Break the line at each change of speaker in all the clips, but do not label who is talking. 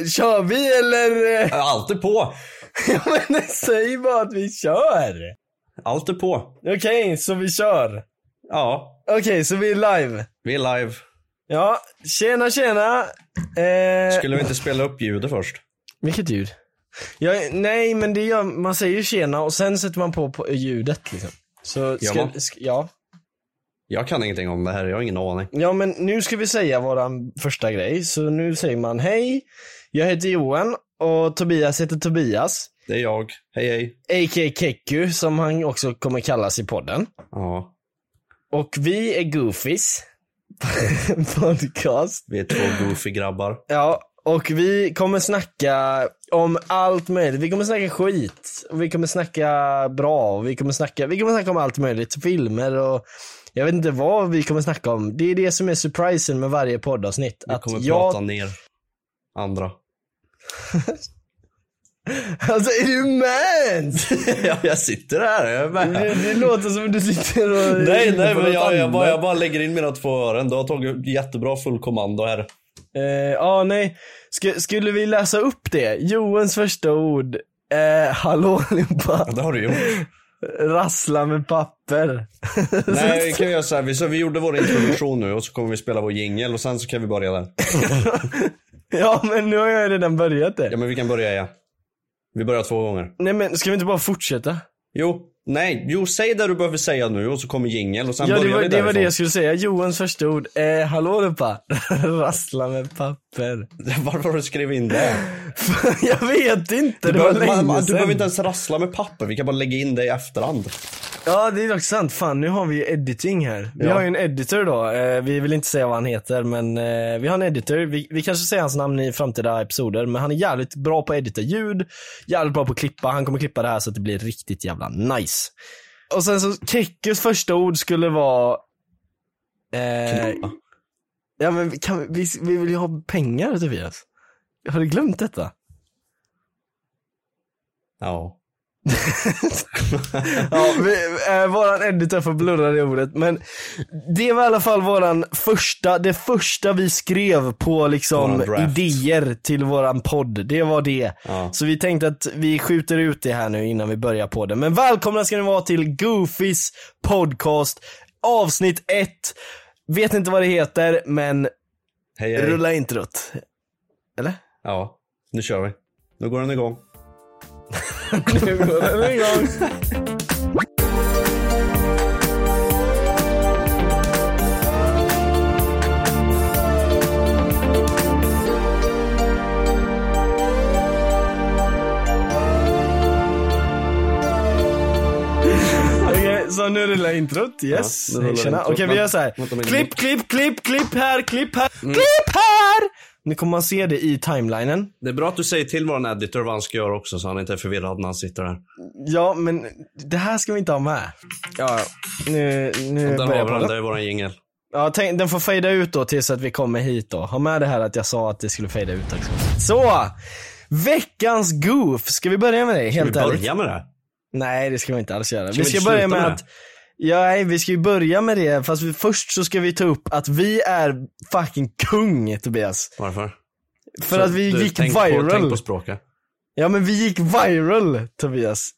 Ja, Kör vi eller? eh?
Allt är på.
Ja men säg bara att vi kör!
Allt är på.
Okej, så vi kör.
Ja,
Okej, så vi är live.
vi är live.
Ja, tjena tjena! Eh,
Skulle vi inte spela upp ljudet först?
Vilket ljud? Ja, nej men det gör, man säger ju tjena och sen sätter man på, på ljudet liksom. Så,
Gör
ska,
man?
ska, ja.
Jag kan ingenting om det här, jag har ingen aning.
Ja men nu ska vi säga våran första grej, så nu säger man hej, jag heter Johan och Tobias heter Tobias.
Det är jag. Hej hej.
A.k.a. Keku som han också kommer kallas i podden.
Ja,
Och vi är Goofies. Podcast.
vi är två goofy grabbar.
Ja, och vi kommer snacka om allt möjligt. Vi kommer snacka skit, och vi kommer snacka bra, och vi kommer snacka, vi kommer snacka om allt möjligt. Filmer och jag vet inte vad vi kommer snacka om. Det är det som är surprisen med varje poddavsnitt.
Vi kommer
jag...
prata ner andra.
Alltså är du mad?
ja, jag sitter här, jag är
Det,
med.
det låter som du sitter och...
Nej, nej, men
något
jag, jag, bara,
annat.
jag bara lägger in mina två öron. Du har tagit jättebra full kommando här.
Eh, Ja, nej. Sk- skulle vi läsa upp det? Johans första ord. Eh, hallå allihopa.
Ja, Det har du gjort.
Rassla med papper.
Nej, vi kan göra så här. Vi, så vi gjorde vår introduktion nu och så kommer vi spela vår jingel och sen så kan vi börja där.
ja, men nu har jag redan börjat det.
Ja, men vi kan börja ja. Vi börjar två gånger.
Nej men ska vi inte bara fortsätta?
Jo, nej, jo säg det du behöver säga nu och så kommer jingel och sen
Ja det
börjar
var
vi
det, var det
därifrån.
jag skulle säga. Johans första ord. Eh, hallå allihopa. Rassla med papper.
Varför har du skrivit in det?
jag vet inte,
Du,
det var
behöver, man,
länge
man, du
sedan.
behöver inte ens rassla med papper, vi kan bara lägga in det i efterhand.
Ja det är dock sant. Fan nu har vi ju editing här. Vi
Ja.
har ju en editor då. Eh, vi vill inte säga vad han heter men eh, vi har en editor. Vi, vi kanske säger hans namn i framtida episoder men han är jävligt bra på att edita ljud. Jävligt bra på att klippa. Han kommer klippa det här så att det blir riktigt jävla nice. Och sen så Kekkes första ord skulle vara... Eh,
Knoppa.
ja men kan, vi- vi, vi vill ju ha pengar Tobias. Har du glömt detta?
Ja.
Ja, vi, eh, våran editor får blurra det ordet. Men det var i alla fall våran första, det första vi skrev på liksom
Våran draft.
idéer till våran podd. Det var det.
Ja.
Så vi tänkte att vi skjuter ut det här nu innan vi börjar på det. Men välkomna ska ni vara till Goofys podcast avsnitt 1. Vet inte vad det heter men
Hej, hej.
rulla introt. Eller?
Ja, nu kör vi. Nu går den igång.
Nu går den igång. Okej, Så nu rullar introt, yes.
Ja, nu rullar
Tjena.
introt.
Okej vi gör så här.
Vänta, vänta, Mm.
Klipp, klipp, klipp, klipp här, klipp här, klipp här! Nu kommer man se det i timelinen.
Det är bra att du säger till vår editor vad han ska göra också så han inte är förvirrad när han sitter där.
Ja, men det här ska vi inte ha med. Ja, nu, nu
Där har
börjar
vi den,
podden.
det är våran jingel.
Ja, tänk, den får fejda ut då tills att vi kommer hit då. Ha med det här att jag sa att det skulle fejda ut också. Så! Veckans goof. Ska vi börja med det? Helt
Vi
ärligt.
börjar med det.
Nej, det ska vi inte alls göra.
vi
vi ska
inte
börja
sluta
med,
med
att... Ja, nej, vi ska ju börja med det, fast vi, först så ska vi ta upp att vi är fucking kung, Tobias.
Varför?
För att vi
Du,
gick
tänk
viral.
På, tänk på språket.
Ja, men vi gick viral, Tobias.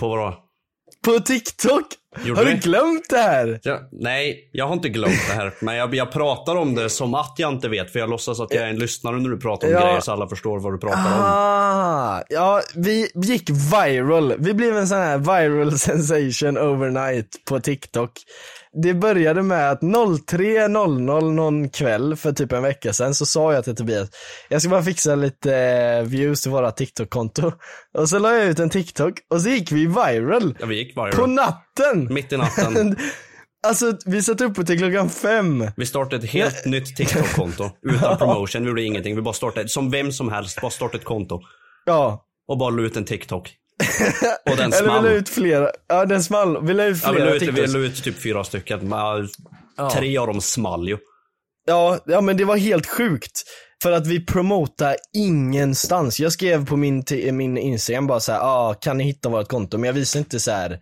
På vadå?
På TikTok.
Gjorde
Har du
vi?
glömt det här?
Ja, nej, jag har inte glömt det här. Men jag, jag pratar om det som att jag inte vet. För jag låtsas att jag är en lyssnare när du pratar om
Ja.
grejer så alla förstår vad du pratar om.
Ah, ja, vi gick viral. Vi blev en sån här viral sensation overnight på TikTok. Det började med att 03.00 någon kväll för typ en vecka sedan så sa jag till Tobias, jag ska bara fixa lite eh, views till våra TikTok-konto. Och så la jag ut en TikTok och så gick vi viral.
Ja, vi gick viral.
På natten!
Mitt i natten.
Alltså vi satt uppe till klockan fem.
Vi startade ett helt nytt TikTok-konto. Utan promotion. Vi gjorde ingenting. Vi bara startade, som vem som helst, bara startade ett konto.
Ja.
Och bara la ut en TikTok. Och den
Eller vi
small.
la ut flera. Ja den small. Vi la ut
Ja, vi
flera
la ut, vi
TikToks.
la ut typ fyra stycken. Men, ja, Tre av dem small ju.
Ja, ja men det var helt sjukt. För att vi promotar ingenstans. Jag skrev på min, ti- min Instagram bara så här, ah, kan ni hitta vårt konto? Men jag visade inte så här.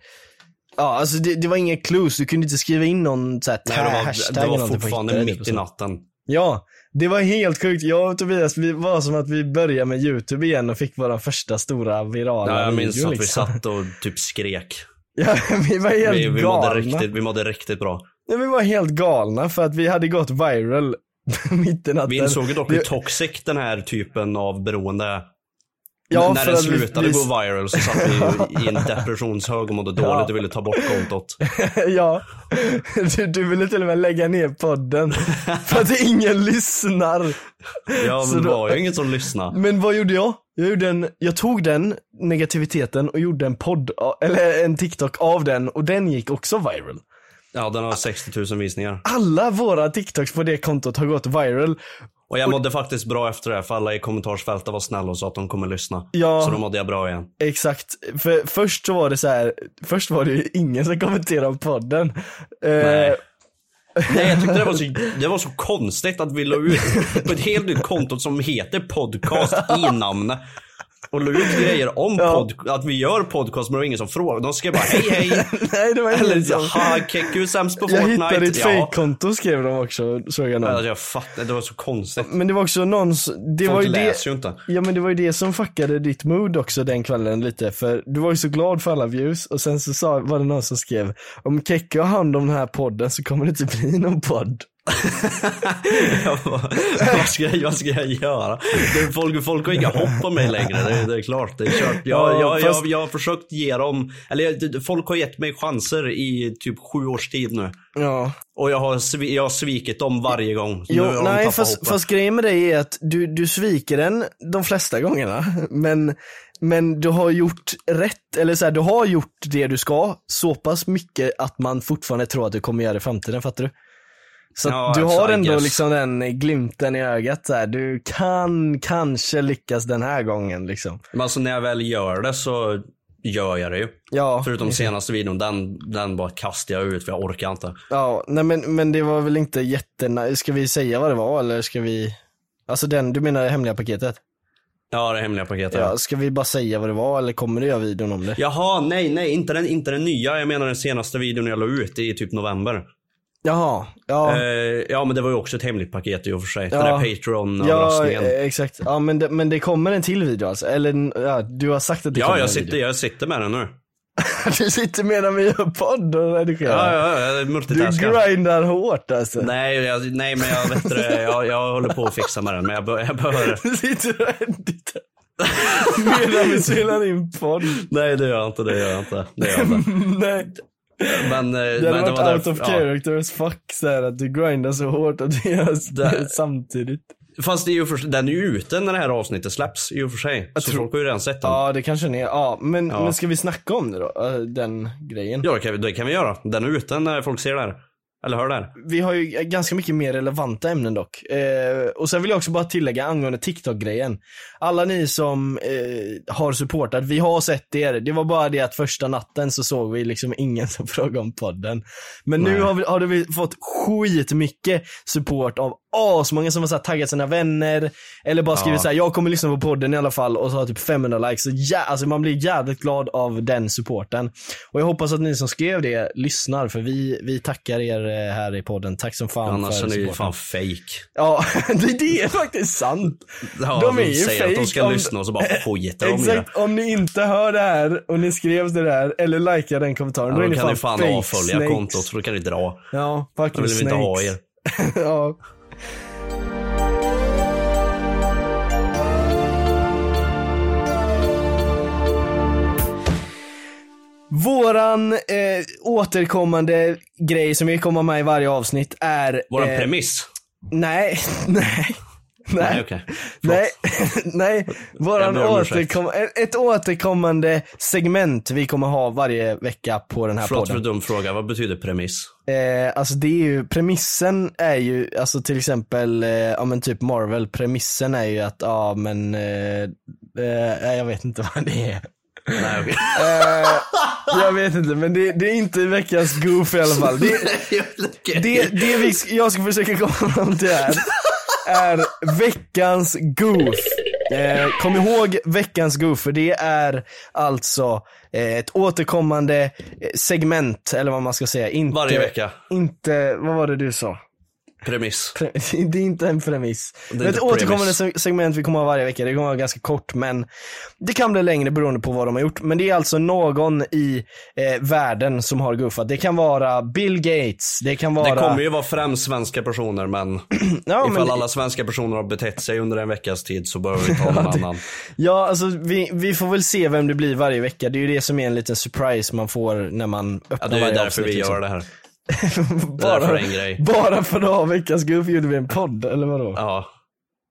Ja, alltså det, det var inga clues. Du kunde inte skriva in någon så här,
Nej, det var,
hashtag
det
eller
var
någonting för att
fortfarande
hitta det,
mitt i
typ.
natten.
Ja, det var helt sjukt. Jag och Tobias, vi var som att vi började med YouTube igen och fick vår första stora virala
Ja, jag minns
video,
att vi
liksom.
satt och typ skrek.
Ja, vi var helt
Vi, vi, mådde
galna.
riktigt, vi mådde riktigt bra.
Nej, vi var helt galna för att vi hade gått viral mitt i natten.
Vi insåg ju dock hur
Det-
toxic den här typen av beroende är.
Ja,
När
för
den
att vi-
slutade
vi-
gå viral så satt vi i en depressionshög och mådde dåligt och ville ta bort kontot.
Ja, du, du ville till och med lägga ner podden för att ingen lyssnar.
Ja,
Så
men det
då-
var ju ingen som lyssnade.
Men vad gjorde jag? Jag, gjorde en, jag tog den negativiteten och gjorde en podd, eller en TikTok av den och den gick också viral.
Ja, den har 60 000 visningar.
Alla våra TikToks på det kontot har gått viral.
Och jag mådde faktiskt bra efter det här, för alla i kommentarsfältet var snälla och sa att de kommer lyssna.
Ja.
Så då mådde jag bra igen.
Exakt, för först så var det så här, först var det ju ingen som kommenterade podden. Eh,
Nej. Nej, jag tyckte det var, så, det var så konstigt att vi la ut på ett helt nytt konto som heter podcast i namnet. Och la ut grejer om pod, att vi gör podcast men det var ingen som frågade. De skrev bara hej hej.
nej det var ingen
Eller
som...
ha Keku är sämst på
Jag
Fortnite.
hittade ett
Ja.
fejkkonto skrev de också, såg jag någon.
Alltså, jag fattar, det var så konstigt.
Men det var också någon, s- det var
Folk
ju det,
läser ju inte.
Ja men det var ju det som fuckade ditt mood också den kvällen lite för du var ju så glad för alla views och sen så sa, var det någon som skrev om Kekke har hand om den här podden så kommer det inte bli någon podd.
Jag bara, vad, ska jag, vad ska jag göra? Det, folk, folk har inga hopp på mig längre, det, är- det är klart. Det är kört. Jag,
Ja,
jag,
fast-
jag, jag har försökt ge dem, eller jag- folk har gett mig chanser i typ sju års tid nu.
Ja.
Och jag har, svi- jag har svikit dem varje gång.
Jo,
nu har de
nej
tappat
fast,
hoppet.
fast grejen med dig är att du, du sviker den de flesta gångerna men, men du har gjort rätt, eller så här, du har gjort det du ska så pass mycket att man fortfarande tror att du kommer göra det i framtiden, fattar du? Så att
Ja,
du
alltså,
har
I
ändå
guess.
liksom den glimten i ögat så här. du kan kanske lyckas den här gången liksom.
Men alltså när jag väl gör det så gör jag det ju.
Ja,
Förutom senaste videon, den, den bara kastade jag ut för jag orkar inte.
ja nej men, men det var väl inte jätte... Ska vi säga vad det var eller ska vi... Alltså den, du menar det hemliga paketet?
Ja, det hemliga paketet.
Ja, ska vi bara säga vad det var eller kommer du göra videon om det?
Jaha, nej, nej, inte den, inte den nya. Jag menar den senaste videon jag la ut i typ november.
Jaha, ja.
Eh, ja, men det var ju också ett hemligt paket i och för sig. Den
Ja.
där
ja,
Patreon-röstningen.
eh, exakt. Ja, men det, men det kommer en till video alltså? Eller n- ja, du har sagt att det
Ja,
kommer en
jag sitter,
video.
jag sitter med den nu.
Du sitter medan vi gör podd och
Ja,
redigerar.
ja, ja, jag
du
multitaskar.
grindar hårt alltså.
Nej, jag, nej, men jag vet det, jag, jag håller på att fixa med den, men jag, be- jag behöver...
Du sitter och editar. medan vi spelar in podd.
Nej, det gör jag inte, det gör jag inte. Det gör jag inte.
Nej.
Men, eh,
Det hade
men
varit out
därför-
of
ja.
character as fuck så här, att du grindar så hårt att du gör s-
Där.
samtidigt.
Fast det är ju för, den är ju ute när det här avsnittet släpps i och för sig. så folk har ju redan sett den. Ja,
Ja, det kanske den är. Ja, men,
Ja.
men ska vi snacka om det då? Eh, Den grejen.
det kan, vi- det kan vi göra. Den är ute när folk ser det här. Eller hör det här?
Vi har ju ganska mycket mer relevanta ämnen dock. Eh, och sen vill jag också bara tillägga angående TikTok-grejen. Alla ni som eh, har supportat, vi har sett er. Det var bara det att första natten så såg vi liksom ingen som frågade om podden. Men nu har, vi, har vi fått skitmycket support av asmånga som har så här taggat sina vänner. Eller bara skrivit så här, jag kommer lyssna på podden i alla fall och så har typ 500 likes. Så ja, alltså man blir jävligt glad av den supporten. Och jag hoppas att ni som skrev det lyssnar för vi, vi tackar er eh, här i podden. Tack som fan
Annars
för
är det ju
supporten.
fan fake.
Ja, det, det är faktiskt sant.
Ja,
de är ju
säger att
fake
de ska
om-
lyssna och så bara skiter de i det.
Exakt, om ni inte hör det här och ni skrev det där eller likar den kommentaren,
Ja,
då är
då
ni
kan
fan,
du fan
fake
avfölja
snakes.
kontot för då kan du dra.
Ja,
Då
fucking
vill vi inte ha er.
snakes. ja. Våran eh, återkommande grej som vi kommer med i varje avsnitt är...
Våran
eh,
premiss?
Nej, nej.
Nej okej.
Nej, nej. Våran
Jag ber om ursäkt.
återkom- ett återkommande segment vi kommer ha varje vecka på den här
Förlåt för
podden.
dum fråga, vad betyder premiss?
Eh, alltså det är ju, premissen är ju, alltså till exempel, eh, ja men typ Marvel, premissen är ju att, ja men, eh, eh, nej, jag vet inte vad det är. Eh,
Nej, okej.
Jag vet inte, men det, det är inte veckans goof i alla fall. Det, det, det vi, sk- jag ska försöka komma fram till här är veckans goof. Eh, kom ihåg veckans goof, för det är alltså eh, ett återkommande eh, segment, eller vad man ska säga. Inte,
Varje vecka.
Inte, vad var det du sa?
Premiss.
Pre- Det är inte en premiss. Det är
inte
ett
premise.
återkommande se- segment vi kommer ha varje vecka. Det kommer vara ganska kort men det kan bli längre beroende på vad de har gjort. Men det är alltså någon i eh, världen som har guffat. Det kan vara Bill Gates, det kan vara...
Det kommer ju vara främst svenska personer men
ja, men,
ifall alla svenska personer har betett sig under en veckas tid så behöver vi ta någon annan.
ja, alltså vi, vi får väl se vem det blir varje vecka. Det är ju det som är en liten surprise man får när man öppnar
Ja, det är ju
varje
därför
avsnitt,
vi
liksom.
gör det här. Det är
bara,
därför det är en grej.
bara för att ha veckans guff gjorde vi en podd, eller vadå?
Ja.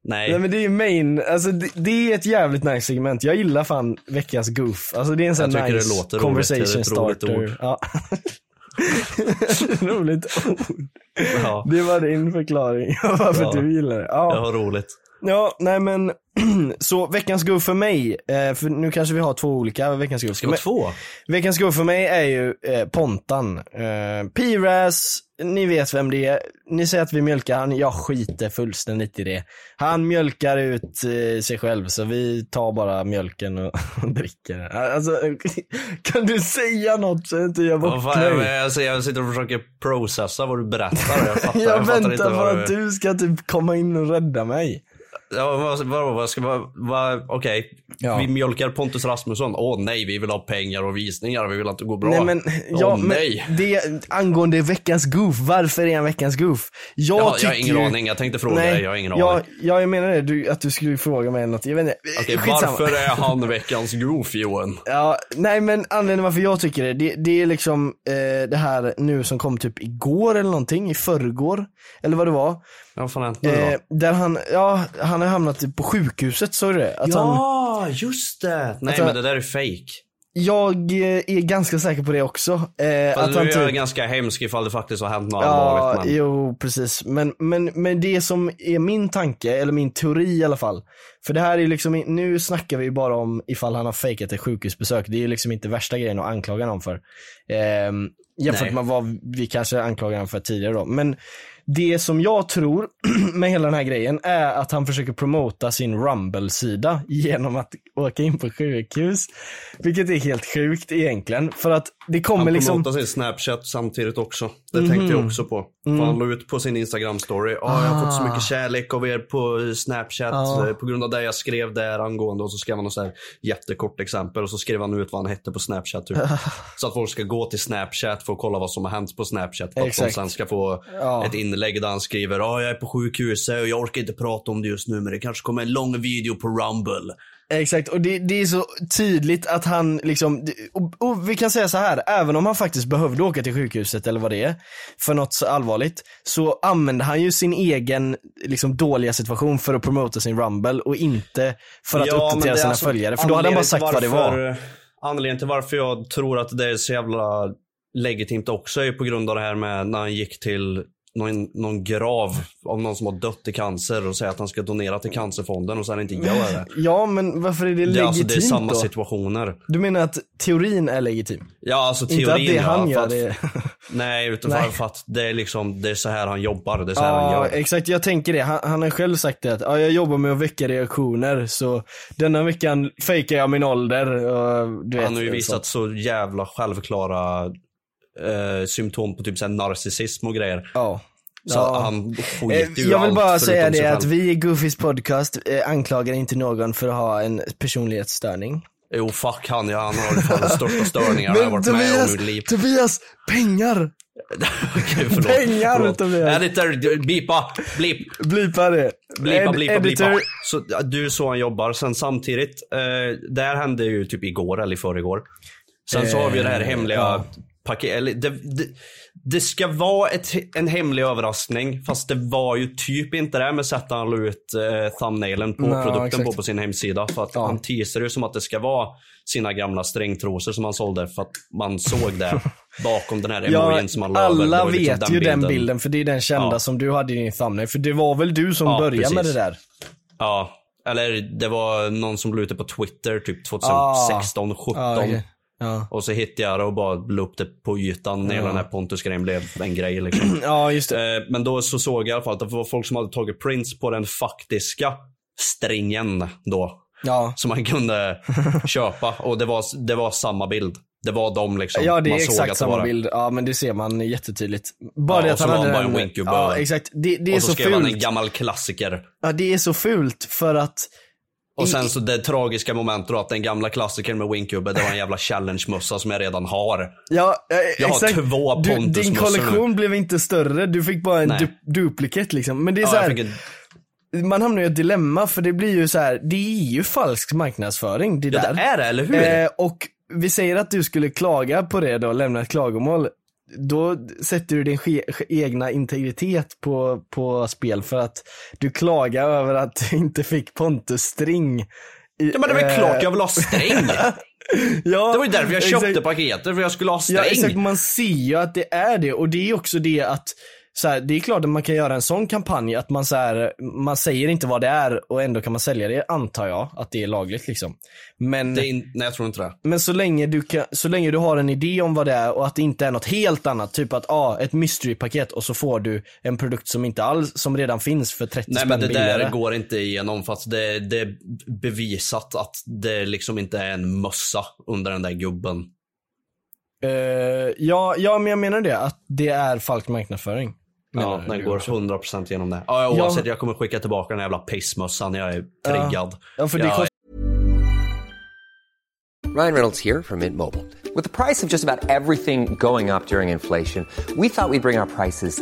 Nej
Nej.
men det är ju main, alltså det, det är ett jävligt nice segment. Jag gillar fan veckans goof. Alltså det är en sån
Jag
här
tycker
nice
det låter roligt. Det är
conversation
ett roligt
starter.
ord.
Ja. roligt ord.
Ja.
Det var din förklaring varför
Ja.
du gillar det.
Jag
Ja.
har roligt.
ja, nej men. så veckans goof för mig, eh, för nu kanske vi har två olika veckans goof.
Ska vi
Men-
ha två?
Veckans go för mig är ju eh, Pontan. Eh, Piras, ni vet vem det är. Ni säger att vi mjölkar han, jag skiter fullständigt i det. Han mjölkar ut eh, sig själv så vi tar bara mjölken och, och dricker. Alltså, kan du säga något så jag inte jag
Vad fan,
vaknar?
jag,
Jag,
alltså, jag sitter och försöker processa vad du berättar. Jag fattar,
jag
fattar inte
väntar på
vad
att du ska typ komma in och rädda mig.
Ja, vad, vad, vad ska vad, vad, Okej,
Ja.
vi mjölkar Pontus Rasmusson. Åh nej, vi vill ha pengar och visningar. Vi vill att det går bra.
Nej men, ja,
Åh,
men
nej.
det angående veckans goof, varför är han veckans goof? Jag,
Jag, har- jag har
tycker
ingen
ju-
aning. Jag tänkte fråga dig. Jag har ingen
jag,
aning.
jag menar det, du, att du skulle fråga mig något. Jag vet inte. eh,
Okej,
Skitsamma.
varför är han veckans goof Johan?
Ja, nej men anledningen varför jag tycker det, det, det är liksom eh, det här nu som kom typ igår eller någonting, i förrgår. Eller vad det var.
Ja, vad fan har hänt nu
Eh, där han, ja, han har hamnat typ på sjukhuset, såg du det? Att han,
Ja, just det. Nej
Att han-
men det där är fake.
jag eh, är ganska säker på det också. Eh,
Fast
att
nu
han
är jag
typ,
ganska hemsk ifall det faktiskt har hänt något
Ja,
allvarligt. Men...
jo precis. Men, men, men det som är min tanke, eller min teori i alla fall. För det här är ju liksom, nu snackar vi ju bara om ifall han har fejkat ett sjukhusbesök. Det är ju liksom inte värsta grejen att anklaga någon för. Ehm, jämfört
Nej.
med vad vi kanske anklagade honom för tidigare då. Men det som jag tror med hela den här grejen är att han försöker promota sin Rumble-sida genom att åka in på sjukhus. Vilket är helt sjukt egentligen. För att det kommer
Han
liksom... Mhm.
promotar sin Snapchat samtidigt också. Det tänkte jag också på.
Mm.
För han la ut på sin Instagram-story. Ja, jag har fått så
Ah.
mycket kärlek av er på Snapchat. eh, På grund av det jag skrev där angående. Och så skrev han något så här jättekort exempel. Och så skrev han ut vad han hette på Snapchat. Typ. så att folk ska gå till Snapchat för att kolla vad som har hänt på Snapchat. För att de
Exakt.
sen ska få ett inlägg där han skriver. Ja, jag är på sjukhuset och jag orkar inte prata om det just nu. Men det kanske kommer en lång video på Rumble.
Exakt, och det, det är så tydligt att han liksom, det- och, och vi kan säga så här, även om han faktiskt behövde åka till sjukhuset eller vad det är, för något så allvarligt, så använde han ju sin egen liksom dåliga situation för att promota sin rumble och inte för att
men det
uppdatera
är
sina
alltså
följare, för då hade han bara sagt vad det
anledningen till
var.
varför- Anledningen till varför jag tror att det är så jävla legitimt också är på grund av det här med när han gick till någon, någon grav av någon som har dött i cancer och säger att han ska donera till cancerfonden och sen inte gör det.
Ja, men varför är det
Det, är
legitimt
alltså, det är samma
då?
situationer.
Du menar att teorin är legitim?
Ja, alltså teorin
Inte att det
ja,
han
för
gör
att-
det.
Nej, utan
Nej.
för- för att det är liksom, det är så här han jobbar, det är så här han
Ja,
gör.
exakt. Jag tänker det. Han, han har själv sagt det att ja, jag jobbar med att väcka reaktioner så denna veckan fejkar jag min ålder. Och, du vet,
Han har ju visat
sånt.
så jävla självklara eh, symptom på typ så här narcissism och grejer.
Ja.
Så
Ja.
han skiter
Eh,
ju
Jag vill
allt
bara
förutom
säga
sig
det att
själv.
vi i Goofys podcast eh, anklagar inte någon för att ha en personlighetsstörning.
Jo fuck han, ja, han har fan de största störningar jag har varit med om i mitt liv.
Tobias, pengar!
Okej, förlåt.
Pengar, Tobias.
Editor, du- blipa, blip,
Blipa det.
blipa,
Ed-
blipa, blipa.
editor.
Så, ja, du är så han jobbar. Sen samtidigt, eh, det här hände ju typ igår eller i förrgår. Sen så har vi det här
Eh,
hemliga
ja.
paket, eller det, det, det ska vara ett, en hemlig överraskning, fast det var ju typ inte det med sättet han la ut eh, thumbnailen på
Nej,
produkten
exakt.
på, på sin hemsida. För att han teaser ju som att det ska vara sina gamla strängtrosor som han sålde för att man såg det bakom den här
Ja,
emojin som han la över. Det
alla
var liksom
vet ju den bilden för det är den kända
Ja.
som du hade i din thumbnail. För det var väl du som
Ja,
började med det
precis.
där?
Ja. Eller det var någon som la ut det på Twitter typ 2016, 17.
Ah. Ja, okej. ja.
Och så hittade jag det och bara la upp det på ytan när hela den här Pontus-grejen blev en grej liksom.
ja, just det.
Eh, Men då så såg jag i alla fall att det var folk som hade tagit prints på den faktiska stringen då.
Ja.
Som man kunde köpa och det var, det var samma bild. Det var de liksom.
Ja det är
man
exakt samma
var det.
bild, ja men det ser man jättetydligt. Bara
Ja,
det
och
att
så
han
var
hade
han bara
den-
en winkgubbe.
Ja exakt, det, det är
Och så,
så
skrev han en
fult.
gammal klassiker.
Ja det är så fult för att,
Och sen så det tragiska momentet då att den gamla klassikern med Winkgubbe, det var en jävla challenge-mössa som jag redan har.
ja eh,
Jag har
exakt.
två
du,
Pontus-mössor
din
nu.
kollektion blev inte större, du fick bara en
Nej.
du, duplikat liksom. Men det är
Ja,
så
jag
här,
fick en,
man hamnar i ett dilemma för det blir ju så här, det är ju falsk marknadsföring det
ja,
där.
det är det, eller hur?
Eh, och vi säger att du skulle klaga på det då, lämna ett klagomål. Då sätter du din ske- ske- egna integritet på, på spel för att du klagar över att du inte fick Pontus string.
ja, men det var ju
eh,
klart jag vill ha sträng.
Ja,
Det var ju därför jag köpte
exakt.
paketet, för jag skulle ha sträng.
Ja exakt, man ser ju att det är det och det är också det att så här, det är klart att man kan göra en sån kampanj att man, så här, man säger inte vad det är och ändå kan man sälja det antar jag att det är lagligt liksom. Men
det är in, nej, jag tror inte det.
Men så länge, du kan, så länge du har en idé om vad det är och att det inte är något helt annat, typ att ah, ett mysterypaket och så får du en produkt som inte alls, som redan finns för 30
Nej
spänn
men det där
billigare.
går inte igenom för att det, det är bevisat att det liksom inte är en mössa under den där gubben.
Eh, ja, ja, men jag menar det, att det är falsk marknadsföring. menar
Ja, den
du
går
också.
100% genom det. Ja,
Ja.
oavsett, jag kommer skicka tillbaka den jävla pissmössan. Jag är triggad.
Ja, för det
jag,
kostar
Ryan Reynolds here from Mint Mobile. With the price of just about everything going up during inflation, we thought we'd bring our prices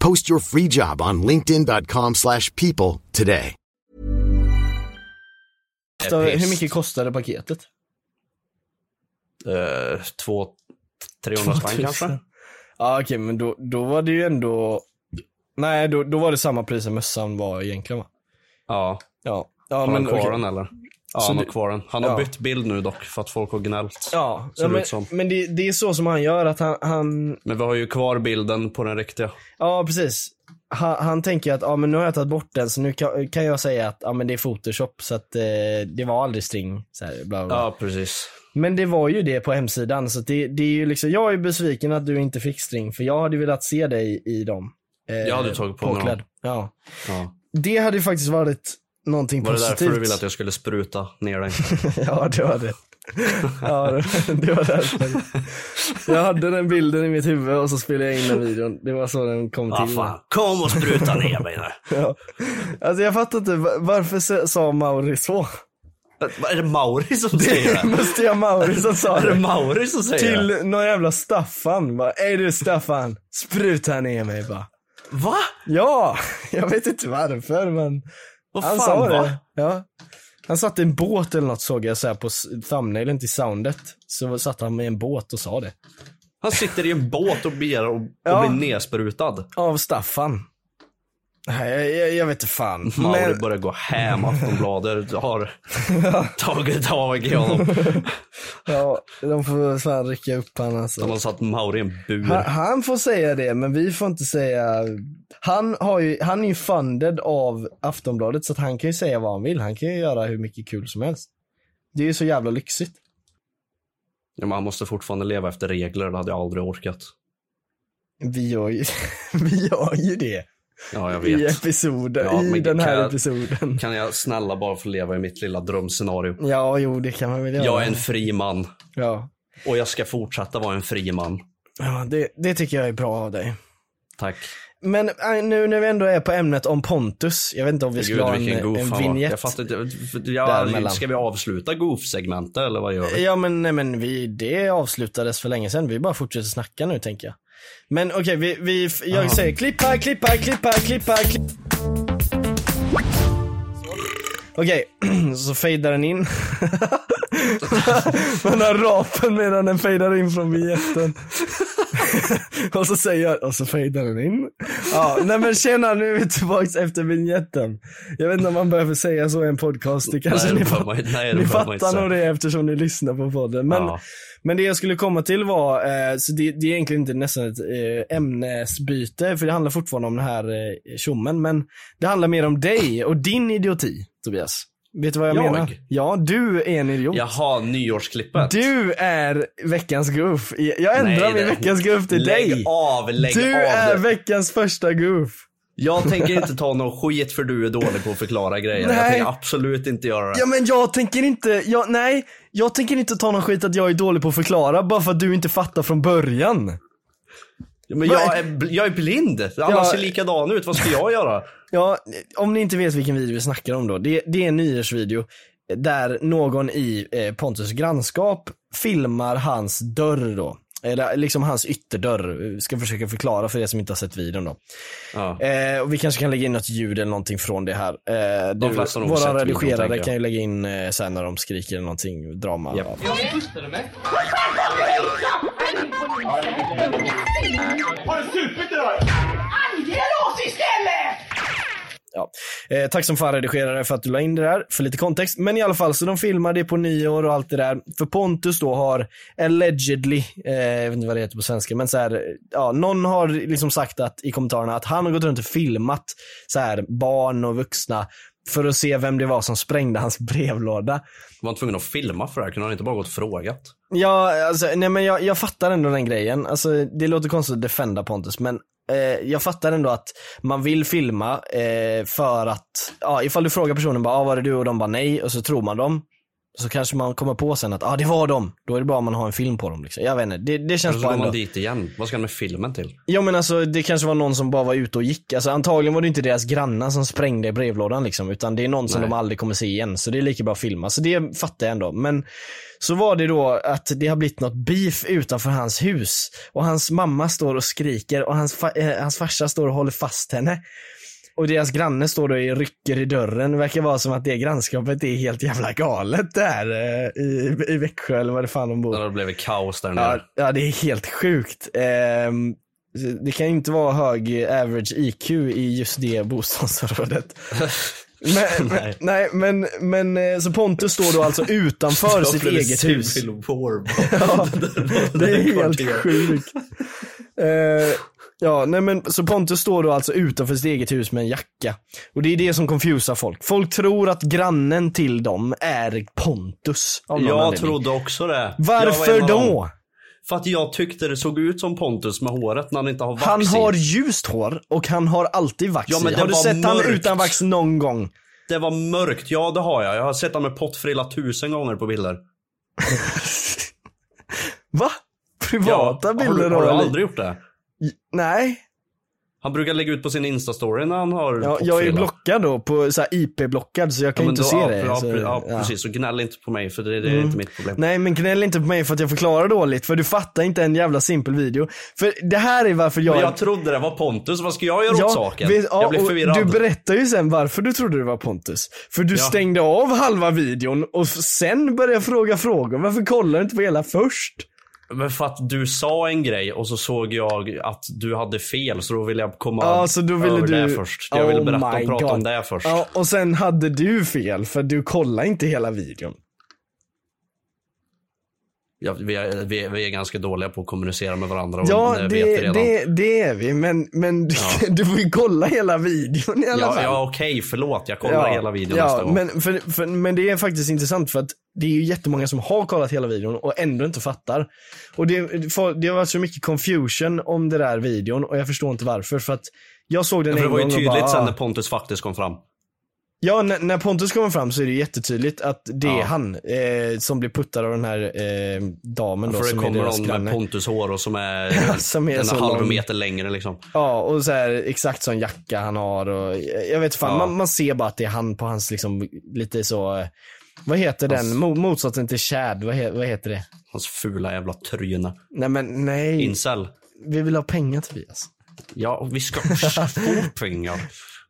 Post your free job on linkedin.com/people slash people today.
jag är piss.
hur mycket kostade paketet?
Eh, två, 300 spänn kanske?
Ja okej, men då, då var det ju ändå, nej då, då var det samma pris som mössan var egentligen va?
Ja.
Ja, ja
Har han
men
kvar
okej.
den eller? Ja,
Så
han har
du-
kvar den. Han har
ja.
bytt bild nu dock för att folk har gnällt.
Ja,
ser
ja
det
men,
ut som.
men det, det är så som han gör att han, han
Men vi har ju kvar bilden på den riktiga.
Ja, precis. Han, han tänker att ah, men nu har jag tagit bort den så nu kan, kan jag säga att ah, men det är photoshop så att eh, det var aldrig string. Så här, bla, bla.
Ja, precis.
Men det var ju det på hemsidan så att det, det är ju liksom, jag är besviken att du inte fick string för jag hade velat se dig i dem. eh,
Jag hade tagit på mig
påklädd.
dem.
Ja.
Ja.
Det hade ju faktiskt varit någonting
Var det
positivt.
därför du ville att jag skulle spruta ner dig?
Ja, det var det. Ja, det var därför. Jag hade den bilden i mitt huvud och så spelade jag in den videon. Det var så den kom
Ah,
till.
fan. Kom och spruta ner mig nu.
Ja. Alltså jag fattar inte, va- varför sa- sa Mauri så?
Är det Mauri som säger det?
Måste jag Mauri som sa
Är det
det?
Mauri som säger det?
Till någon jävla Staffan bara, Ey du Staffan, spruta ner mig bara.
Va?
Ja, jag vet inte varför men
Vad
han
fan
sa
va?
det. Ja. Han satt i en båt eller något såg jag så här på s- thumbnailen till soundet. Så satt han med en båt och sa det.
Han sitter i en båt och ber och,
Ja.
och blir nersprutad.
Av Staffan. Nej, jag, jag, jag vet inte fan.
Mauri
Men,
börjar gå hem, Aftonbladet har tagit tag i honom.
ja, de får fan rycka upp han alltså.
Han har satt Mauri i en
Han,
bur.
han får säga det, men vi får inte säga. Han, har ju, han är ju funded av Aftonbladet så att han kan ju säga vad han vill. Han kan ju göra hur mycket kul som helst. Det är ju så jävla lyxigt.
Ja, men han måste fortfarande leva efter regler, det hade jag aldrig orkat.
Vi gör ju, vi gör ju det
Ja, jag
i
vet.
episoden,
Ja,
i
men
den här
kan-
episoden.
Kan jag snälla bara få leva i mitt lilla drömscenario?
Ja, jo, det kan man väl göra.
Jag är en fri man
ja.
och jag ska fortsätta vara en fri man.
ja det, det tycker jag är bra av dig.
Tack.
Men eh, nu när vi ändå är på ämnet om Pontus, jag vet inte om vi
Gud
ska ha
vilken
en,
goof
en
han var.
vignett.
Jag fattar inte. för-
Däremellan.
Ja, ska vi avsluta goof-segmentet eller vad gör vi?
Ja men, nej, men vi, det avslutades för länge sedan, vi bara fortsätter snacka nu tänker jag. Men okej, vi, vi, jag säger klipp här, klipp här, klipp här, klipp här, klipp. Okej, så fejdar den in. Man har rapen medan den fejdar in från vignetten. och så säger jag, och så fejdar den in. Ja, nej men tjena, nu är vi tillbaks efter vignetten. Jag vet inte om man behöver säga så i en podcast, det kanske
Nej, det
ni,
behöver
fa-
man inte- nej, det
ni
behöver man inte
fattar nog
säga.
det eftersom ni lyssnar på podden. Men,
Ja.
men det jag skulle komma till var, eh, så det, det är egentligen inte nästan ett eh, ämnesbyte, för det handlar fortfarande om den här eh, tjommen, men det handlar mer om dig och din idioti, Tobias. Vet du vad jag,
Jag?
menar? Ja, du är en idiot.
Jaha, nyårsklippet.
Du är veckans goof. Jag
Nej,
ändrar
det-
min veckans goof till
lägg
dig.
av, lägg
du
av.
är
det.
veckans första goof.
Jag tänker inte ta någon skit för du är dålig på att förklara grejer.
Nej.
Jag tänker absolut inte göra det.
Ja men jag tänker inte, jag, nej, jag tänker inte ta någon skit att jag är dålig på att förklara bara för att du inte fattar från början.
Men jag är, bl- jag är blind. Alla
Ja.
ser likadan ut. Vad ska jag göra?
Ja, om ni inte vet vilken video vi snackar om då. Det, det är en nyårsvideo där någon i eh, Pontus grannskap filmar hans dörr då. Eller liksom hans ytterdörr. Ska försöka förklara för er som inte har sett videon då.
Ja.
Eh, och vi kanske kan lägga in något ljud eller någonting från det här. Eh, du,
flesta har nog sett
våra
videon,
redigerare
tänker jag.
kan ju lägga in eh, sen när de skriker eller någonting, drama.
Japp.
Ja. Eh, tack som fan redigerare för att du la in det där, för lite kontext. Men i alla fall, så de filmar det på nyår och allt det där. För Pontus då har allegedly, eh, jag vet inte vad det heter på svenska, men så här, eh, ja, någon har liksom sagt att, i kommentarerna att han har gått runt och filmat så här, barn och vuxna för att se vem det var som sprängde hans brevlåda.
Var han tvungen att filma för det här? Kunde han inte bara gått och frågat?
Ja, alltså, nej men jag, jag fattar ändå den grejen. Alltså, det låter konstigt att defenda Pontus, men eh, jag fattar ändå att man vill filma eh, för att, ja, ifall du frågar personen bara, ah, var det du? Och de bara nej, och så tror man dem. Så kanske man kommer på sen att, ja ah, det var dem. Då är det bra om man har en film på dem. Liksom. Jag vet inte, det, det
Och
känns
så
bara
går man
ändå.
dit igen. Vad ska han med filmen till?
Ja men alltså det kanske var någon som bara var ute och gick. Alltså, antagligen var det inte deras grannar som sprängde i brevlådan liksom. Utan det är någon som
Nej.
de aldrig kommer se igen. Så det är lika bra att filma. Så det fattar jag ändå. Men så var det då att det har blivit något beef utanför hans hus. Och hans mamma står och skriker och hans, fa- eh, hans farsa står och håller fast henne. Och deras granne står då och rycker i dörren. Det verkar vara som att det grannskapet är helt jävla galet där eh, i, i Växjö eller vad det fan de bor.
När det blev kaos där
Ja,
nere.
ja, det är helt sjukt. Ehm, det kan ju inte vara hög average IQ i just det bostadsområdet. Men, nej. nej, men, men eh, så Pontus står då alltså utanför sitt eget hus.
Civil war.
Ja, det är helt
kvarteret.
sjukt. Eh, ja, nej men så Pontus står då alltså utanför sitt eget hus med en jacka. Och det är det som confusar folk. Folk tror att grannen till dem är Pontus. av någon
Jag
anledning.
trodde också det. Jag
Varför
var en av dem.
då?
För att jag tyckte det såg ut som Pontus med håret när han inte har vax
Han
i.
har ljust hår och han har alltid vax
Ja, men
i.
det
Har du
var
sett han
mörkt.
utan vax någon gång?
Det var mörkt. Ja, det har jag. Jag har sett honom med pottfrilla tusen gånger på bilder.
Va?
Ja,
Privata
har
bilder
du, har du
då, eller?
aldrig gjort det?
Nej.
Han brukar lägga ut på sin instastory när han har
Ja,
pottfrilla.
jag är blockad då, på så här IP-blockad så jag kan
men
inte
då-
se
ja,
det.
Ja,
så,
pre- ja,
ja. Mm.
precis. Så gnäll inte på mig för det, det är inte mitt problem.
Nej men gnäll inte på mig för att jag förklarar dåligt för du fattar inte en jävla simpel video. För det här är varför jag...
Men jag trodde det var Pontus, vad ska jag göra åt saken?
vet- ja,
jag blev
och
förvirrad.
Du berättar ju sen varför du trodde det var Pontus. För du
Ja.
stängde av halva videon och f- sen började fråga frågor. Varför kollar du inte på hela först?
Men för att du sa en grej och så såg jag att du hade fel så då ville jag komma
Ja, så då ville
över
du...
det först. Jag ville
Oh
berätta
my
och prata om
God.
det först.
Ja, och sen hade du fel för du kollar inte hela videon.
Ja, vi, är, vi, är, vi är ganska dåliga på att kommunicera med varandra och
Ja,
det, vet vi
det,
redan.
det, det är vi, men, men du, du får ju kolla hela videon i alla
ja,
fall.
ja okej, förlåt. Jag kollar hela videon
ja,
nästa gång.
Men, för, för, men det är faktiskt intressant för att det är ju jättemånga som har kollat hela videon och ändå inte fattar. Och det, för, det har varit så mycket confusion om den där videon och jag förstår inte varför. För att jag såg den
för det
en
var ju
gång och
tydligt
bara,
sen
"Ah."
när Pontus faktiskt kom fram.
Ja, när, när Pontus kommer fram så är det jättetydligt att det är
Ja.
han eh, som blir puttad av den här eh, damen då
För det
som är
kommer
deras
någon med
granne.
Pontus hår och som är,
Som är
en
så
halv
lång.
meter längre liksom.
Ja, och så här, exakt sån jacka han har och eh, jag vet fan,
Ja.
man, man ser bara att det är han på hans liksom lite så, eh, vad heter den, Mo motsatsen till Chad, vad, he vad heter det?
Hans fula jävla tryne.
Nej men nej,
Incel.
vi vill ha pengar Tobias.
Ja, och vi ska få pengar.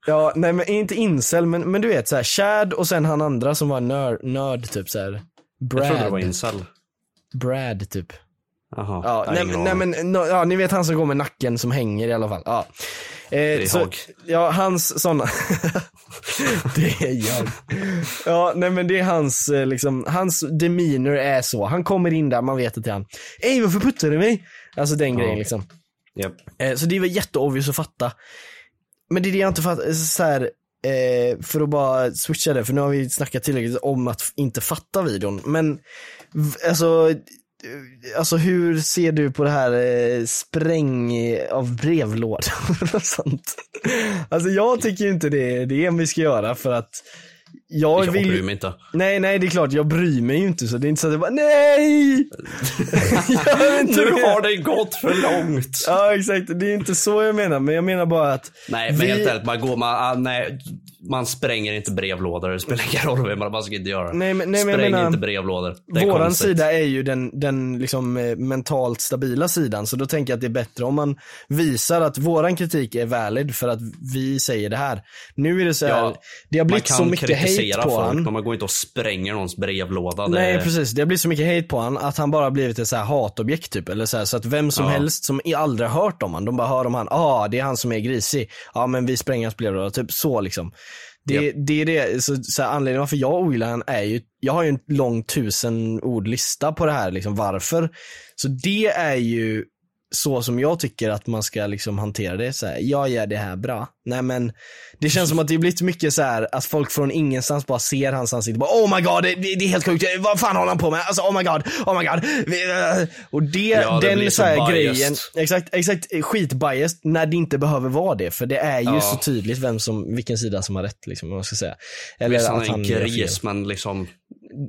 Ja, nej men inte incel, men, men du vet så här, Chad och sen han andra som var nörd, nörd typ så här. Brad,
Jag trodde det var incel.
Brad typ.
Jaha.
Ja,
jag har
nej,
ingen
nej
aning.
men, no, ja, ni vet han som går med nacken som hänger i alla fall. Ja. Eh,
är
så,
jag.
ja, hans sådana. det är jag. Ja, nej men det är hans, eh, liksom, hans demeanor är så. Han kommer in där, man vet att det är han. Ej, varför puttar du mig? Alltså den grejen liksom.
Japp.
Eh, så det var jätteobvious att fatta. Men det är det jag inte fattar, så här, eh, för att bara switcha det, för nu har vi snackat tillräckligt om att f- inte fatta videon. Men v- alltså, eh, alltså hur ser du på det här eh, spräng av brevlådor och sånt? Alltså jag tycker ju inte det är det vi ska göra för att jag,
Jag
vill
bryr mig inte.
Nej, nej det är klart jag bryr mig ju inte så det är inte så att jag bara nej! Gör inte
Nu
det!
har det gått för långt.
Ja exakt, det är inte så jag menar men jag menar bara att
Nej, men helt ärligt, man går, man, ah, nej, man spränger inte brevlådor. Det spelar ingen roll vem man, man ska inte göra. det.
Nej, men- nej, men jag
Spräng
menar-
inte brevlådor. Det är
Våran
konstigt.
sida är ju den, den liksom eh, mentalt stabila sidan så då tänker jag att det är bättre om man visar att våran kritik är valid för att vi säger det här. Nu är det så här,
Ja,
det har
Man
blivit
kan
så mycket hate
kritisera
på
folk,
han.
men man går inte och spränger någons brevlåda. Det-
Nej precis, det har blivit så mycket hate på han att han bara har blivit ett så här hatobjekt typ. Eller så, här, så att vem som
Ja.
helst som i- aldrig har hört om han, de bara hör om han, ja ah, det är han som är grisig. Ja men vi spränger hans brevlåda, typ så liksom. Det, det är det, så, så här, anledningen varför jag ogillar han är ju, jag har ju en lång tusen ordlista på det här liksom, varför. Så det är ju så som jag tycker att man ska liksom hantera det. Så här, jag gör det här bra. Nej men det känns som att det blir lite mycket så här att folk från ingenstans bara ser hans ansikte. Bara, oh my god, det, det det är helt sjukt. Vad fan håller han på med? Alltså oh my god, oh my god. Vi- äh." Och det,
Ja, det
den
blir
så
så
här
biased.
grejen. Exakt, exakt skitbiased när det inte behöver vara det. För det är ju
Ja.
så tydligt vem som, vilken sida som har rätt liksom. om Man ska säga.
Visst, han är
att
en
gör fel.
gris, men liksom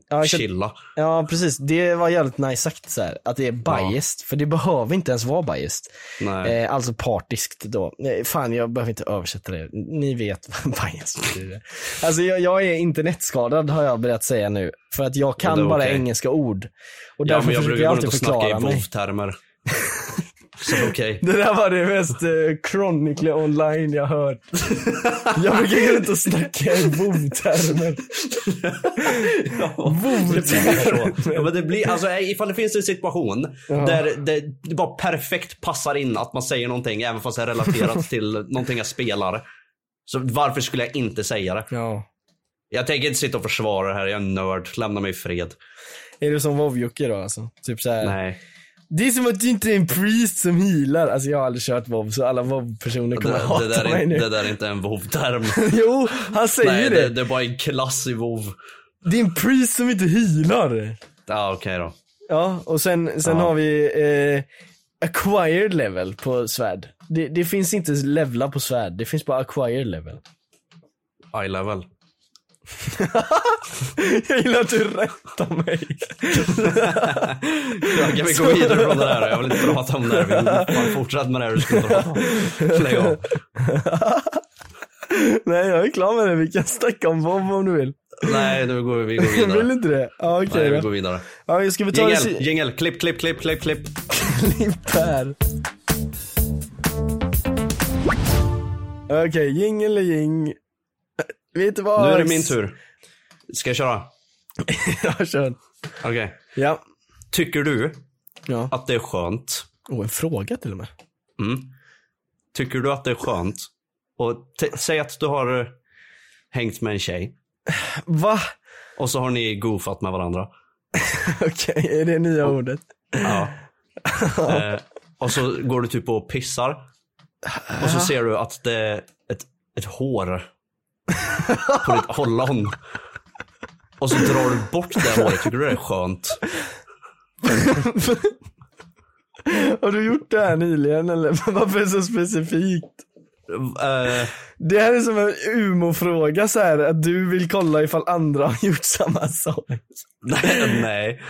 Ja, exakt.
chilla.
Ja precis, det var jävligt nice sagt så här, att det är biased, för det behöver inte ens vara biased.
Nej.
Eh, alltså partiskt då. Eh, fan jag behöver inte översätta det, ni vet vad biased betyder. Alltså jag, jag är internetskadad har jag börjat säga nu, för att jag kan
det är
bara
okej.
engelska ord. Och
Ja,
därför
men jag
försöker
brukar
jag
gå runt
alltid
och snacka i
förklara mig.
vovtermer. så det är okej.
Det där var det mest eh, Chronicle online jag hört. jag brukar gå runt och snacka i vovtermer.
Ja, det blir så. Ja, men det blir, alltså, ifall det finns en situation där det, det bara perfekt passar in att man säger någonting även fast det är relaterat till någonting jag spelar. Så varför skulle jag inte säga det?
Ja.
Jag tänker inte sitta och försvara det här, jag är en nörd. Lämna mig i fred.
Är du som Vovjocke då alltså? Typ såhär.
Nej.
Det är som att du inte är en priest som healar. Alltså jag har aldrig kört WoW så alla WoW-personer
Det,
kommer att hata
det, där
mig
är,
nu.
det där är inte en WoW-term.
Jo, han säger
Nej,
det.
det, det är bara en klass i WoW.
Det är en priest som inte healar.
Ja, okej då.
Ja, och sen, sen
Ja.
har vi eh, acquired level på svärd. Det, det finns inte levla på svärd, det finns bara acquired level.
Eye level.
Jag gillar att du rättar mig.
Kan vi gå vidare från det här? Jag vill inte prata om det här. Vi har fortsatt med det här du skulle prata om. Lägg av.
Nej, jag är klar med det. Vi kan snacka om Bob om du vill.
Nej, nu går vi, vi
Du
går
vill
vidare.
inte det? Ja,
Nej,
okej
vi går
då.
vidare.
Ja, ska vi ta det
Jingel, jingel, klipp, klipp, klipp, klipp, klipp.
klipp här? Okej, jing eller jing. Eh, Vi är tillbaks.
Nu är det min tur. Ska jag köra?
Ja, kör.
Okej.
Ja.
Tycker du
Ja.
att det är skönt?
Oh, en fråga till och med.
Tycker du att det är skönt? Och t- säg att du har eh, hängt med en tjej
Va?
och så har ni goofat med varandra.
Okej, är det nya ordet?
Ja. eh, och så går du typ och pissar. Och så ser du att det är ett, ett hår på ditt ollon. Och så drar du bort det håret. Tycker du det är skönt?
Har du gjort det här nyligen eller? Varför är det så specifikt?
Eh,
Det här är som en umofråga så här att du vill kolla ifall andra har gjort samma sak.
nej, nej.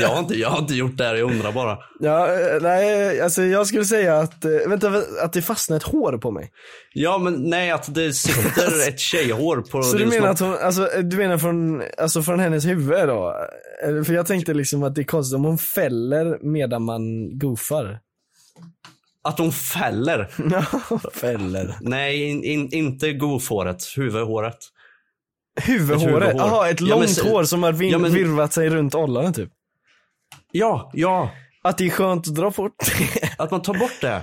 Jag, har inte, jag har inte gjort det här. Jag undrar bara.
Ja, eh, nej, alltså jag skulle säga att, eh, vänta, vä- att det fastnar ett hår på mig.
Ja, men nej, att det sitter ett tjejhår på
Så du
din
menar
snopp.
att hon, alltså eh, du menar från, alltså från hennes huvud då? Eller, För jag tänkte liksom att det är konstigt om hon fäller medan man goofar.
Att de fäller.
fäller.
Nej, in, in, inte govfåret. Huvudhåret.
Huvudhåret?
huvudhår.
Jaha, ett
Ja, men
långt
så-
hår som har vin-
Ja, men-
virvat sig runt ollonet typ.
Ja, ja.
Att det är skönt att dra bort det.
Att man tar bort det.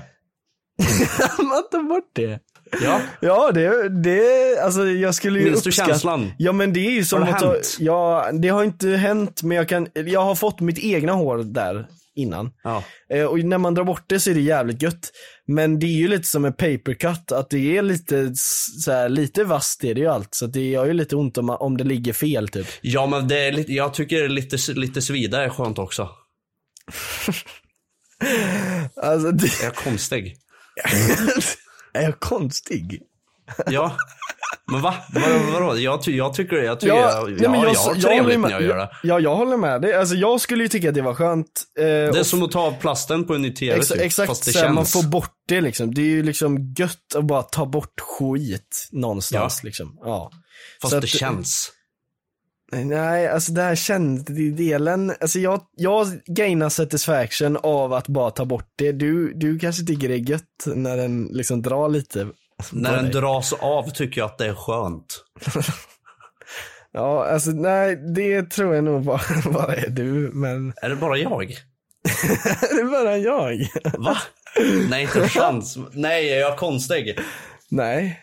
Man tar bort det.
Ja.
Ja, det, det, alltså jag skulle ju
Minns du
uppskatta-
känslan?
Ja men det är ju som
Har det
att ta-
hänt?
Ja, det har inte hänt men jag kan, jag har fått mitt egna hår där innan.
ja.
Eh, och när man drar bort det så är det jävligt gött. Men det är ju lite som en papercut, att det är lite s- så här, lite vasst är det ju allt. Så att det gör ju lite ont om, om det ligger fel typ.
Ja, men det är lite, jag tycker lite, lite svida är skönt också.
Alltså det,
Är jag konstig?
är jag konstig?
Ja. Men va? Vadå? vadå? Jag, ty, jag tycker, jag tycker,
Ja,
jag,
nej,
jag,
men
jag, har
håller
trevligt när
med-
jag gör det.
Ja, jag håller med dig. Alltså jag skulle ju tycka att det var skönt. Eh,
Det är
och-
som att ta av plasten på en ny TV
Exa
typ,
exakt,
fast det
såhär,
känns.
man får bort det liksom. Det är ju liksom gött att bara ta bort skit någonstans
Ja.
liksom. Ja.
fast
så
det
att- eh,
känns.
Nej, alltså det här känsldelen, alltså jag, jag gainar satisfaction av att bara ta bort det. Du, du kanske tycker det är gött när den liksom drar lite.
När den dras av tycker jag att det är skönt.
Ja, alltså nej, det tror jag nog bara, bara är du, men
Är det bara jag?
det är bara jag.
Va? Nej, inte en chans. Nej, är jag konstig?
Nej.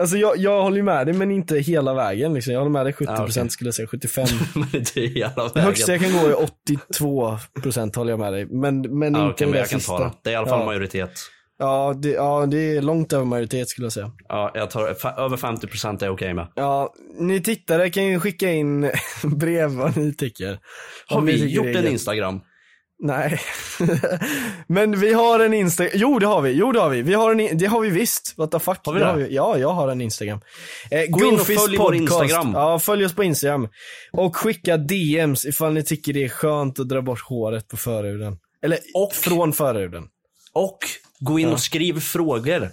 Alltså jag, jag håller ju med dig, men inte hela vägen liksom. Jag håller med dig 70%
Ja, Ah, okej.
skulle jag säga, 75.
Men det är hela
Det
vägen.
högsta jag kan gå är 82 procent håller jag med dig. Men, men inte
Ja, Ah,
det
okej, men
där
jag kan
sista.
ta det. Det är i alla fall
ja.
majoritet.
Ja det, ja, det är långt över majoritet skulle jag säga.
Ja, jag tar, fa- över 50% är jag okej med.
Ja, ni tittare kan ju skicka in brev vad ni tycker.
Har
Om ni
vi
tycker
gjort
det är
en
gött.
Instagram?
Nej. men vi har en Instagram. Jo, det har vi. Jo, det har vi. vi har en in- det har vi visst. What the fuck.
Har vi det?
har vi. Ja, jag har en Instagram. Eh,
Gå in och
Goofies
följ vår Instagram.
Ja, följ oss på Instagram. Och skicka DMs ifall ni tycker det är skönt att dra bort håret på förhuden. Eller
Och-
från förhuden.
Och gå in och skriv frågor.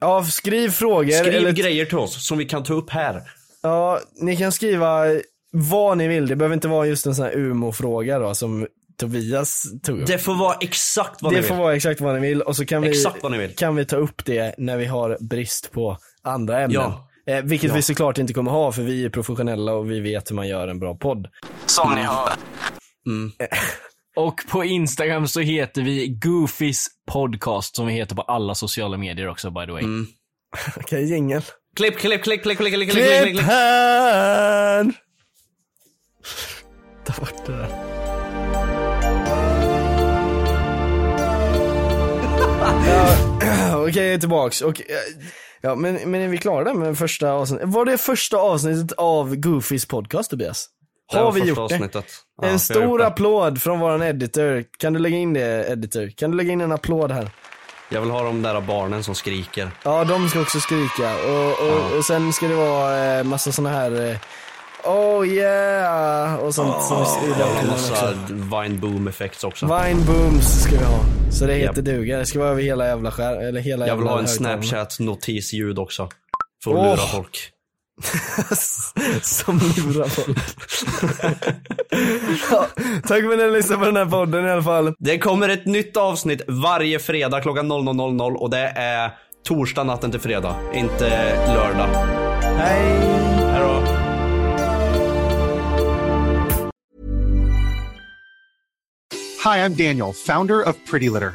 Ja, skriv frågor.
Skriv
eller,
grejer till oss som vi kan ta upp här.
ja, ni kan skriva vad ni vill. Det behöver inte vara just en sån här UMO-fråga då som Tobias tog upp. Det,
Det får vara exakt vad ni
får
vill.
vara exakt vad ni vill och så kan vi,
Exakt vad ni vill.
kan vi ta upp det när vi har brist på andra ämnen.
Ja.
Eh, vilket vi såklart inte kommer ha för vi är professionella och vi vet hur man gör en bra podd. Mm. Som ni hör.
Och på Instagram så heter vi Goofies podcast som vi heter på alla sociala medier också by the way.
Mm. Okej, jingel.
Klipp, klipp, klipp, klipp, klipp, klipp, klipp, klipp,
Klipp
klipp.
här! Ta bort det där. Ja, Okej, jag är tillbaks. Och, eh, ja, men, men är vi klara där med första avsnittet? Var det första avsnittet av Goofys podcast, Tobias?
Det
Har
var
vi
första
gjort det?
avsnittet. Ja, vi har
en stor
gjort det.
applåd från våran editor. Kan du lägga in det, editor? Kan du lägga in en applåd här?
Jag vill ha de där barnen som skriker.
Ja, de ska också skrika. Och, och, och sen ska det vara eh, massa såna här eh, Oh yeah! Och sånt som i den
Och
filmen också.
massa Vine Boom effects också.
Vine booms ska vi ha. Så det
Japp.
heter duga. Det ska vara över hela jävla skär, eller hela
Jag vill
jävla
ha en
högtalarna.
Snapchat-notisljud också. För att
Åh.
lura folk.
som lurar folk. ja, tack för att ni lyssnade på den här podden i alla fall.
Det kommer ett nytt avsnitt varje fredag klockan 00.00 och det är torsdag natten till fredag. Inte lördag.
Hej!
Hej då.
Hi, I'm Daniel, founder of Pretty Litter.